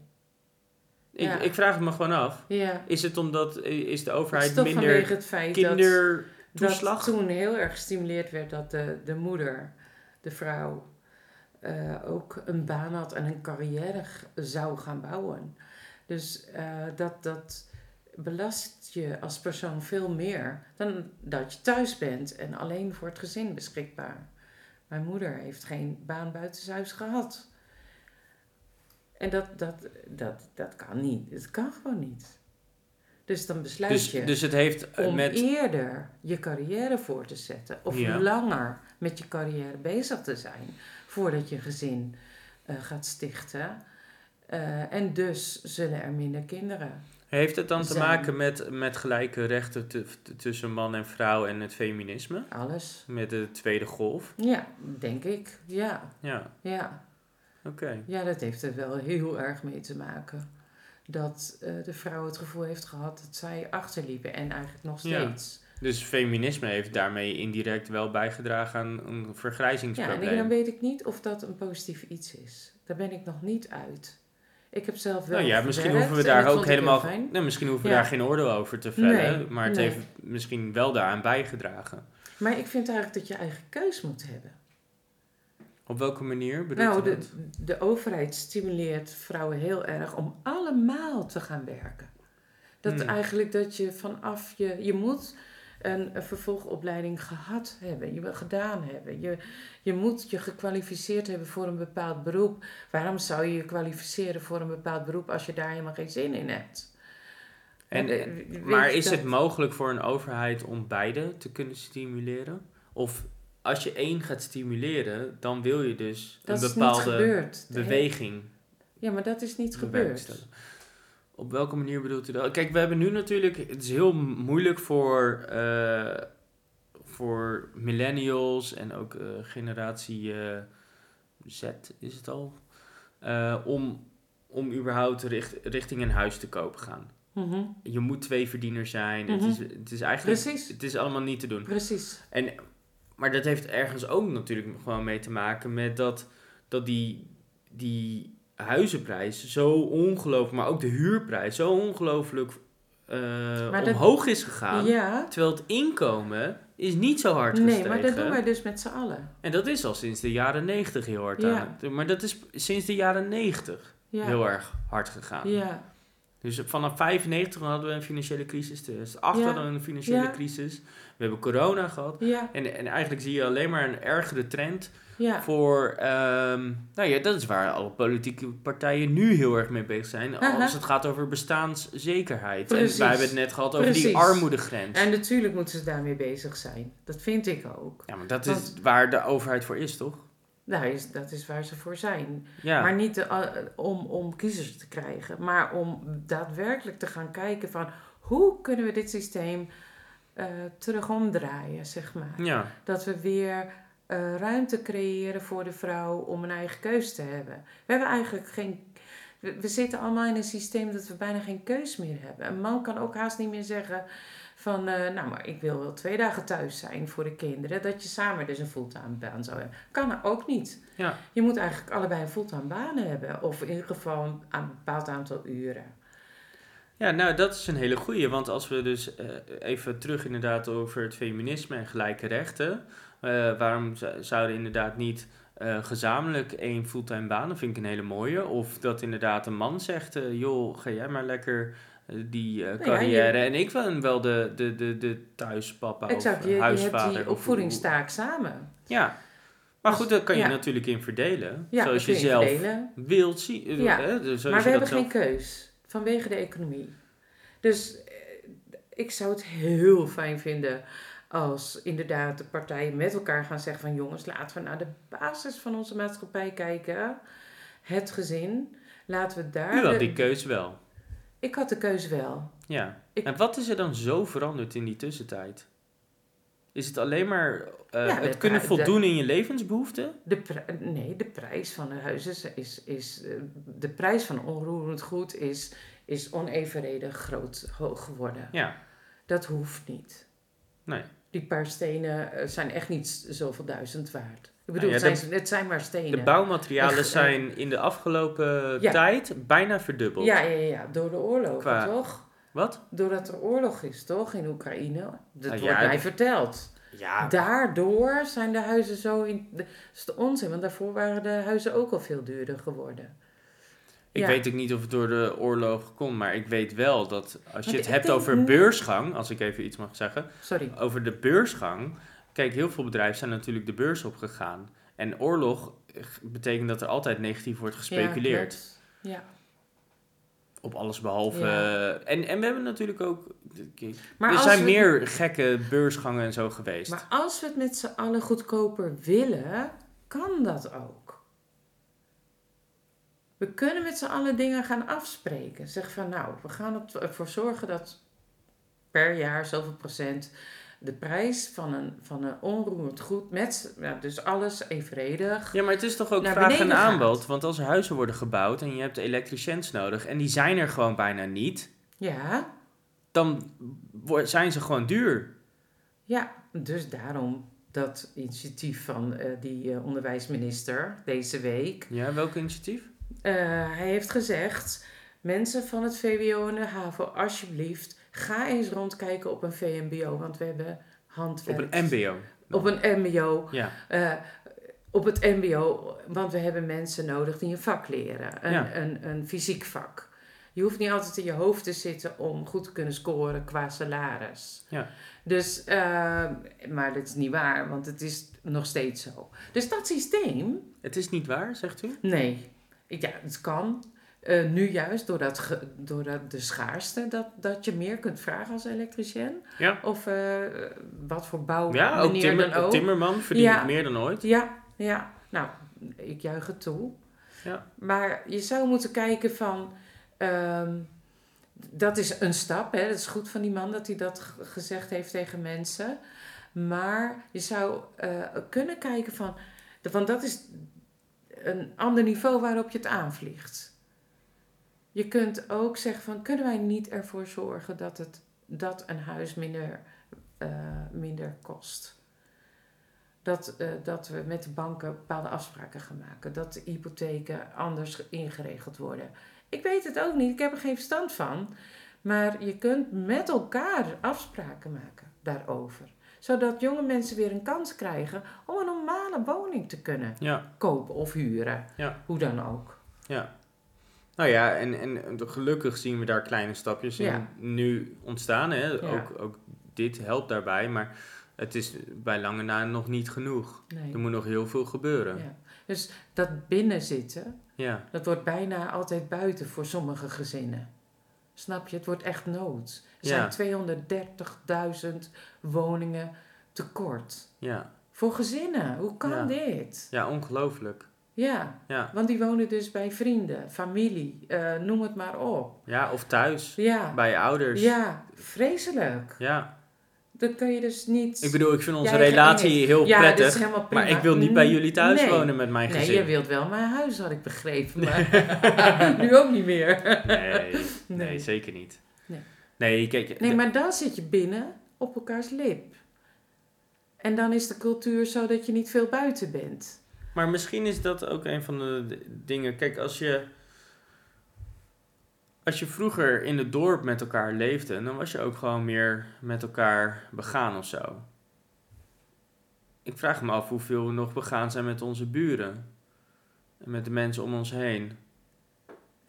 Ik,
Ja.
ik vraag het me gewoon af.
Ja.
Is het omdat eh, is de
Het is
overheid
toch
minder dus,
vanwege het feit dat...
kindertoeslag?
Dat toen heel erg gestimuleerd werd dat de, de moeder, de vrouw, eh, ook een baan had en een carrière g- zou gaan bouwen. Dus eh, dat, dat belast je als persoon veel meer dan dat je thuis bent en alleen voor het gezin beschikbaar. Mijn moeder heeft geen baan buitenshuis gehad. En dat, dat, dat, dat kan niet. Het kan gewoon niet. Dus dan besluit
Dus,
je
dus het heeft eh,
om
met...
eerder je carrière voor te zetten. Of
Ja.
langer met je carrière bezig te zijn. Voordat je een gezin eh, gaat stichten. Eh, en dus zullen er minder kinderen.
Heeft het dan te
Zijn.
maken met, met gelijke rechten tu- t- tussen man en vrouw en het feminisme?
Alles.
Met de tweede golf?
Ja, denk ik. Ja,
Ja,
ja.
oké.
ja dat heeft er wel heel erg mee te maken. Dat eh, de vrouw het gevoel heeft gehad dat zij achterliepen. En eigenlijk nog
Ja.
steeds.
Dus feminisme heeft daarmee indirect wel bijgedragen aan een
Ja, en
vergrijzingsprobleem.
ik- dan weet ik niet of dat een positief iets is. Daar ben ik nog niet uit. Ik heb zelf wel.
nou ja, misschien
gewerkt
hoeven we
en
daar
dat
ook
vond ik heel
helemaal.
fijn.
Nee, misschien hoeven we
Ja.
daar geen oordeel over te vellen.
Nee,
maar het
nee.
heeft misschien wel daaraan bijgedragen.
Maar ik vind eigenlijk dat je eigen keus moet hebben.
Op welke manier bedoelt
nou,
u
de,
dat?
de overheid stimuleert vrouwen heel erg om allemaal te gaan werken. Dat
Hmm.
eigenlijk dat je vanaf je. Je moet een, een vervolgopleiding gehad hebben, je wil gedaan hebben. Je, je moet je gekwalificeerd hebben voor een bepaald beroep. Waarom zou je je kwalificeren voor een bepaald beroep als je daar helemaal geen zin in hebt?
En,
eh,
en-
weet
maar
je
is
dat-
het mogelijk voor een overheid om beide te kunnen stimuleren? Of als je één gaat stimuleren, dan wil je dus
Dat
een
is niet
bepaalde
gebeurd.
beweging
Ja, maar dat is niet gebeurd.
bewerkstelligen. Op welke manier bedoelt u dat? Kijk, we hebben nu natuurlijk... Het is heel moeilijk voor, eh, voor millennials en ook eh, generatie eh, Z is het al... eh, om, om überhaupt richt, richting een huis te koop gaan.
Mhm.
Je moet twee verdieners zijn.
Mhm.
het, is, het is eigenlijk...
Precies,
Het is allemaal niet te doen.
precies.
En, maar dat heeft ergens ook natuurlijk gewoon mee te maken met dat, dat die, die huizenprijs zo ongelooflijk, maar ook de huurprijs zo ongelooflijk eh,
dat-
omhoog is gegaan.
Ja,
Terwijl het inkomen is niet zo hard
nee,
gestegen.
maar dat doen wij dus met z'n allen.
En dat is al sinds de jaren negentig heel hard
Ja.
aan het- Maar dat is sinds de jaren negentig
Ja.
heel erg hard gegaan.
Ja,
Dus vanaf 95 hadden we een financiële crisis. 2008
Ja.
hadden we een financiële
Ja.
crisis. We hebben corona gehad.
ja,
En, en eigenlijk zie je alleen maar een ergere trend
ja.
voor... ehm, nou ja, dat is waar alle politieke partijen nu heel erg mee bezig zijn.
Aha.
Als het gaat over bestaanszekerheid.
Precies.
En wij hebben het net gehad over die
Precies.
armoedegrens.
En natuurlijk moeten ze daarmee bezig zijn. Dat vind ik ook.
Ja, maar dat is waar de overheid voor is, toch?
Nou, is, dat is waar ze voor zijn.
Ja,
Maar niet de- eh, om, om kiezers te krijgen, maar om daadwerkelijk te gaan kijken van hoe kunnen we dit systeem eh terug omdraaien, zeg maar.
ja.
dat we weer eh, ruimte creëren voor de vrouw om een eigen keus te hebben. We hebben eigenlijk geen. We, we zitten allemaal in een systeem dat we bijna geen keus meer hebben. Een man kan ook haast niet meer zeggen van, eh, nou maar ik wil wel twee dagen thuis zijn voor de kinderen. Dat je samen dus een fulltime baan zou hebben. Kan ook niet.
Ja.
Je moet eigenlijk allebei een fulltime baan hebben. Of in ieder geval een, aan een bepaald aantal uren.
ja, nou dat is een hele goeie. Want als we dus eh, even terug inderdaad over het feminisme en gelijke rechten. eh, waarom z- zouden inderdaad niet eh, gezamenlijk één fulltime baan? Dat vind ik een hele mooie. Of dat inderdaad een man zegt, eh, joh, ga jij maar lekker eh, die eh,
ja,
carrière. En ik ben wel de, de, de, de thuispapa
exact,
of
je, je
huisvader.
hebt die
of hoe-
opvoedingstaak samen.
Ja, Maar goed, daar kan je
Ja.
natuurlijk in verdelen.
Ja, dat
zoals je
kun je
zelf
verdelen.
wilt zien. eh,
Ja,
hè, dus zoals
Maar we
je
hebben
dat zelf-
geen keus vanwege de economie. Dus eh, ik zou het heel fijn vinden als inderdaad de partijen met elkaar gaan zeggen van jongens, laten we naar de basis van onze maatschappij kijken. Het gezin. Laten we daar.
U had
de-
die keus wel.
Ik had de keus wel.
Ja.
Ik-
En wat is er dan zo veranderd in die tussentijd? Is het alleen maar eh, het
dat-
kunnen
dat-
voldoen in je levensbehoeften?
De pri- nee, de prijs van de huizen is- is, is eh, de prijs van onroerend goed is, is onevenredig groot hoog geworden.
Ja.
Dat hoeft niet.
Nee.
Die paar stenen eh, zijn echt niet z- zoveel duizend waard. Ik bedoel,
Nou ja,
het,
de-
zijn, het zijn maar stenen.
De bouwmaterialen
Echt, eh,
zijn in de afgelopen
Ja.
tijd bijna verdubbeld.
ja, ja, ja, ja, door de oorlog,
Qua-
toch?
Wat?
Doordat er oorlog is, toch, in Oekraïne? Dat
Ah, ja,
wordt mij
dat- Ah.
verteld.
Ja.
Daardoor zijn de huizen zo in... Dat is de onzin, want daarvoor waren de huizen ook al veel duurder geworden.
Ik
ja.
weet ook niet of het door de oorlog komt, maar ik weet wel dat als je
Want
het
ik
hebt
denk
over
niet-
beursgang, als ik even iets mag zeggen,
Sorry.
Over de beursgang. Kijk, heel veel bedrijven zijn natuurlijk de beurs opgegaan. En oorlog eh, betekent dat er altijd negatief wordt gespeculeerd.
Ja, klopt.
op alles behalve.
Ja.
eh, En, en we hebben natuurlijk ook. kijk,
ja. Maar
er
als
zijn
we-
meer gekke beursgangen en zo geweest.
Maar als we het met z'n allen goedkoper willen, kan dat ook. We kunnen met z'n allen dingen gaan afspreken. Zeg van nou, we gaan ervoor zorgen dat per jaar zoveel procent de prijs van een, van een onroerend goed met, z'n- ja, dus alles evenredig.
ja, maar het is toch ook
Naar
vraag en
beneden gaat.
aanbod. Want als er huizen worden gebouwd en je hebt elektriciëns nodig. en die zijn er gewoon bijna niet.
Ja,
dan wo- zijn ze gewoon duur.
ja, dus daarom dat initiatief van eh, die eh, onderwijsminister deze week.
Ja, welk initiatief?
Eh, hij heeft gezegd: mensen van het VWO en de HAVO, alsjeblieft, ga eens rondkijken op een VMBO, want we hebben
Op
handwerk.
een MBO.
Op een MBO.
Ja.
eh, op het MBO, want we hebben mensen nodig die een vak leren, een,
Ja.
een, een fysiek vak. Je hoeft niet altijd in je hoofd te zitten om goed te kunnen scoren qua salaris.
Ja.
Dus, eh, maar dat is niet waar, want het is nog steeds zo. Dus dat systeem,
Het is niet waar, zegt u?
Nee. Ik- Ja, het kan. Eh, nu juist, doordat, ge, doordat de schaarste, dat, dat je meer kunt vragen als elektricien.
Ja.
Of eh, wat voor bouw
Ja, ook
Oh, meneer
timmer-
dan ook.
Timmerman verdient
Ja.
meer dan ooit.
Ja, ja. Nou, ik juich het toe.
Ja.
Maar je zou moeten kijken van... ehm, dat is een stap, hè. Dat is goed van die man dat hij dat g- gezegd heeft tegen mensen. Maar je zou eh, kunnen kijken van... Want dat is een ander niveau waarop je het aanvliegt. Je kunt ook zeggen van... Kunnen wij niet ervoor zorgen dat, het, dat een huis minder, eh, minder kost? dat, eh, dat we met de banken bepaalde afspraken gaan maken. Dat de hypotheken anders ingeregeld worden. Ik weet het ook niet, ik heb er geen verstand van. Maar je kunt met elkaar afspraken maken daarover. Zodat jonge mensen weer een kans krijgen om een normale woning te kunnen
Ja.
kopen of huren.
Ja.
Hoe dan ook.
Nou ja, en, en en gelukkig zien we daar kleine stapjes in
Ja.
nu ontstaan. Hè?
Ja.
Ook, ook dit helpt daarbij, maar het is bij lange na nog niet genoeg.
Nee.
Er moet eh, nog heel veel gebeuren. Ja,
Ja. Dus dat binnenzitten, dat wordt bijna altijd buiten voor sommige gezinnen. Snap je? Het wordt echt nood. Er
Ja.
zijn 230.000 woningen tekort.
ja.
Voor gezinnen. Hoe kan
Ja.
dit?
ja ongelooflijk.
Ja,
Ja.
want die wonen dus bij vrienden, familie, eh, noem het maar op.
ja, of thuis,
Ja,
bij je ouders.
ja vreselijk.
Ja.
Dan kun je dus niet...
ik bedoel, ik vind onze
Ja, je-
relatie heel
ja, dat is
prettig,
helemaal prima.
maar ik wil niet bij
Mm,
jullie thuis
nee.
wonen met mijn
Nee,
gezin.
je wilt wel mijn huis, had ik begrepen.
(laughs)
Maar (laughs) nu ook niet meer.
nee, nee,
Nee.
zeker niet.
Nee.
Nee, kijk,
Nee, maar dan zit je binnen op elkaars lip. En dan is de cultuur zo dat je niet veel buiten bent.
Maar misschien is dat ook een van de d- dingen. Kijk, als je. Als je vroeger in het dorp met elkaar leefde, dan was je ook gewoon meer met elkaar begaan of zo. Ik vraag me af hoeveel we nog begaan zijn met onze buren. En met de mensen om ons heen.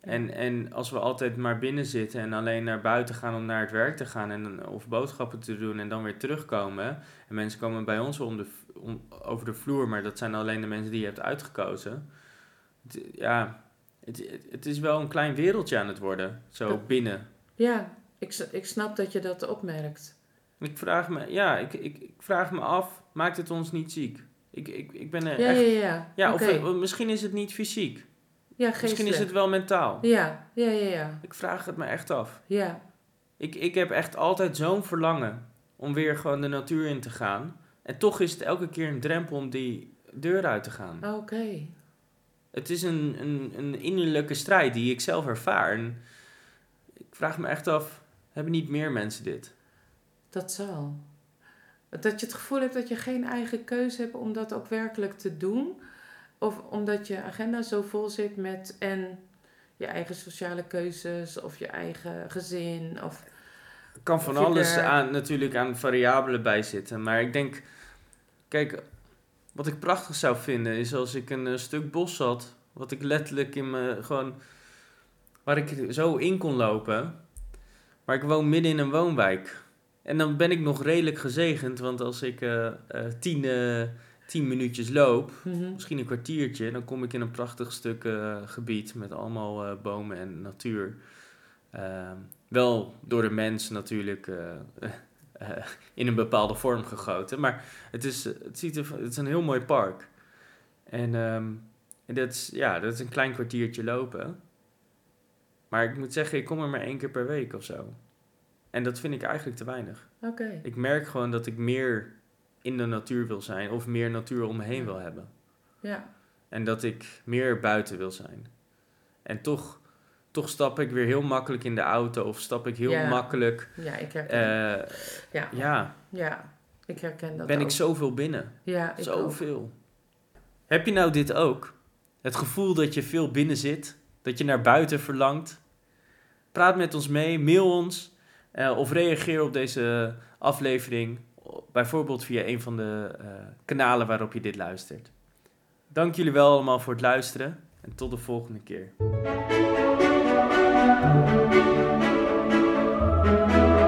En, en als we altijd maar binnen zitten en alleen naar buiten gaan om naar het werk te gaan en, of boodschappen te doen en dan weer terugkomen. En mensen komen bij ons om de, v- om- over de vloer, maar dat zijn alleen de mensen die je hebt uitgekozen. Het- ja, het, het, het is wel een klein wereldje aan het worden, zo
Dat-
binnen.
Ja, ik, s- ik snap dat je dat opmerkt.
Ik vraag me, ja, ik, ik, ik vraag me af, maakt het ons niet ziek? Ik, ik, ik ben er
Ja,
echt...
ja, ja.
Ja,
Oké.
of, eh, misschien is het niet fysiek.
ja geestelijk.
Misschien is het wel mentaal.
Ja, ja, ja, ja.
Ik vraag het me echt af.
Ja,
Ik, ik heb echt altijd zo'n verlangen om weer gewoon de natuur in te gaan. En toch is het elke keer een drempel om die deur uit te gaan.
oké.
Het is een, een, een innerlijke strijd die ik zelf ervaar. En ik vraag me echt af, hebben niet meer mensen dit?
Dat zal. Dat je het gevoel hebt dat je geen eigen keuze hebt om dat ook werkelijk te doen. Of omdat je agenda zo vol zit met en je eigen sociale keuzes of je eigen gezin. Of,
Er kan van
Of je
alles
daar-
aan, natuurlijk aan variabelen bij zitten. Maar ik denk, kijk, wat ik prachtig zou vinden is als ik een eh, stuk bos had. Wat ik letterlijk in mijn, gewoon, waar ik zo in kon lopen. Maar ik woon midden in een woonwijk. En dan ben ik nog redelijk gezegend, want als ik eh, eh, tien, eh, tien minuutjes loop,
Mhm.
misschien een kwartiertje, dan kom ik in een prachtig stuk eh, gebied met allemaal eh, bomen en natuur. Ehm, wel door de mens natuurlijk eh, (laughs) eh, in een bepaalde vorm gegoten, maar het is, het ziet er, het is een heel mooi park. En, ehm, en dat, is, ja, dat is een klein kwartiertje lopen. Maar ik moet zeggen, ik kom er maar één keer per week of zo. En dat vind ik eigenlijk te weinig.
Oké.
Ik merk gewoon dat ik meer in de natuur wil zijn of meer natuur om me heen wil hebben.
Ja.
En dat ik meer buiten wil zijn. En toch, toch stap ik weer heel makkelijk in de auto. Of stap ik heel
Ja.
makkelijk.
ja, ik
eh,
herken, ja.
ja,
ja, ik herken dat
ben
ook.
ik zoveel binnen.
Ja, ik ook.
Zoveel. Heb je nou dit ook? Het gevoel dat je veel binnen zit. Dat je naar buiten verlangt. Praat met ons mee. Mail ons. eh, of reageer op deze aflevering. Bijvoorbeeld via een van de eh, kanalen waarop je dit luistert. Dank jullie wel allemaal voor het luisteren. En tot de volgende keer.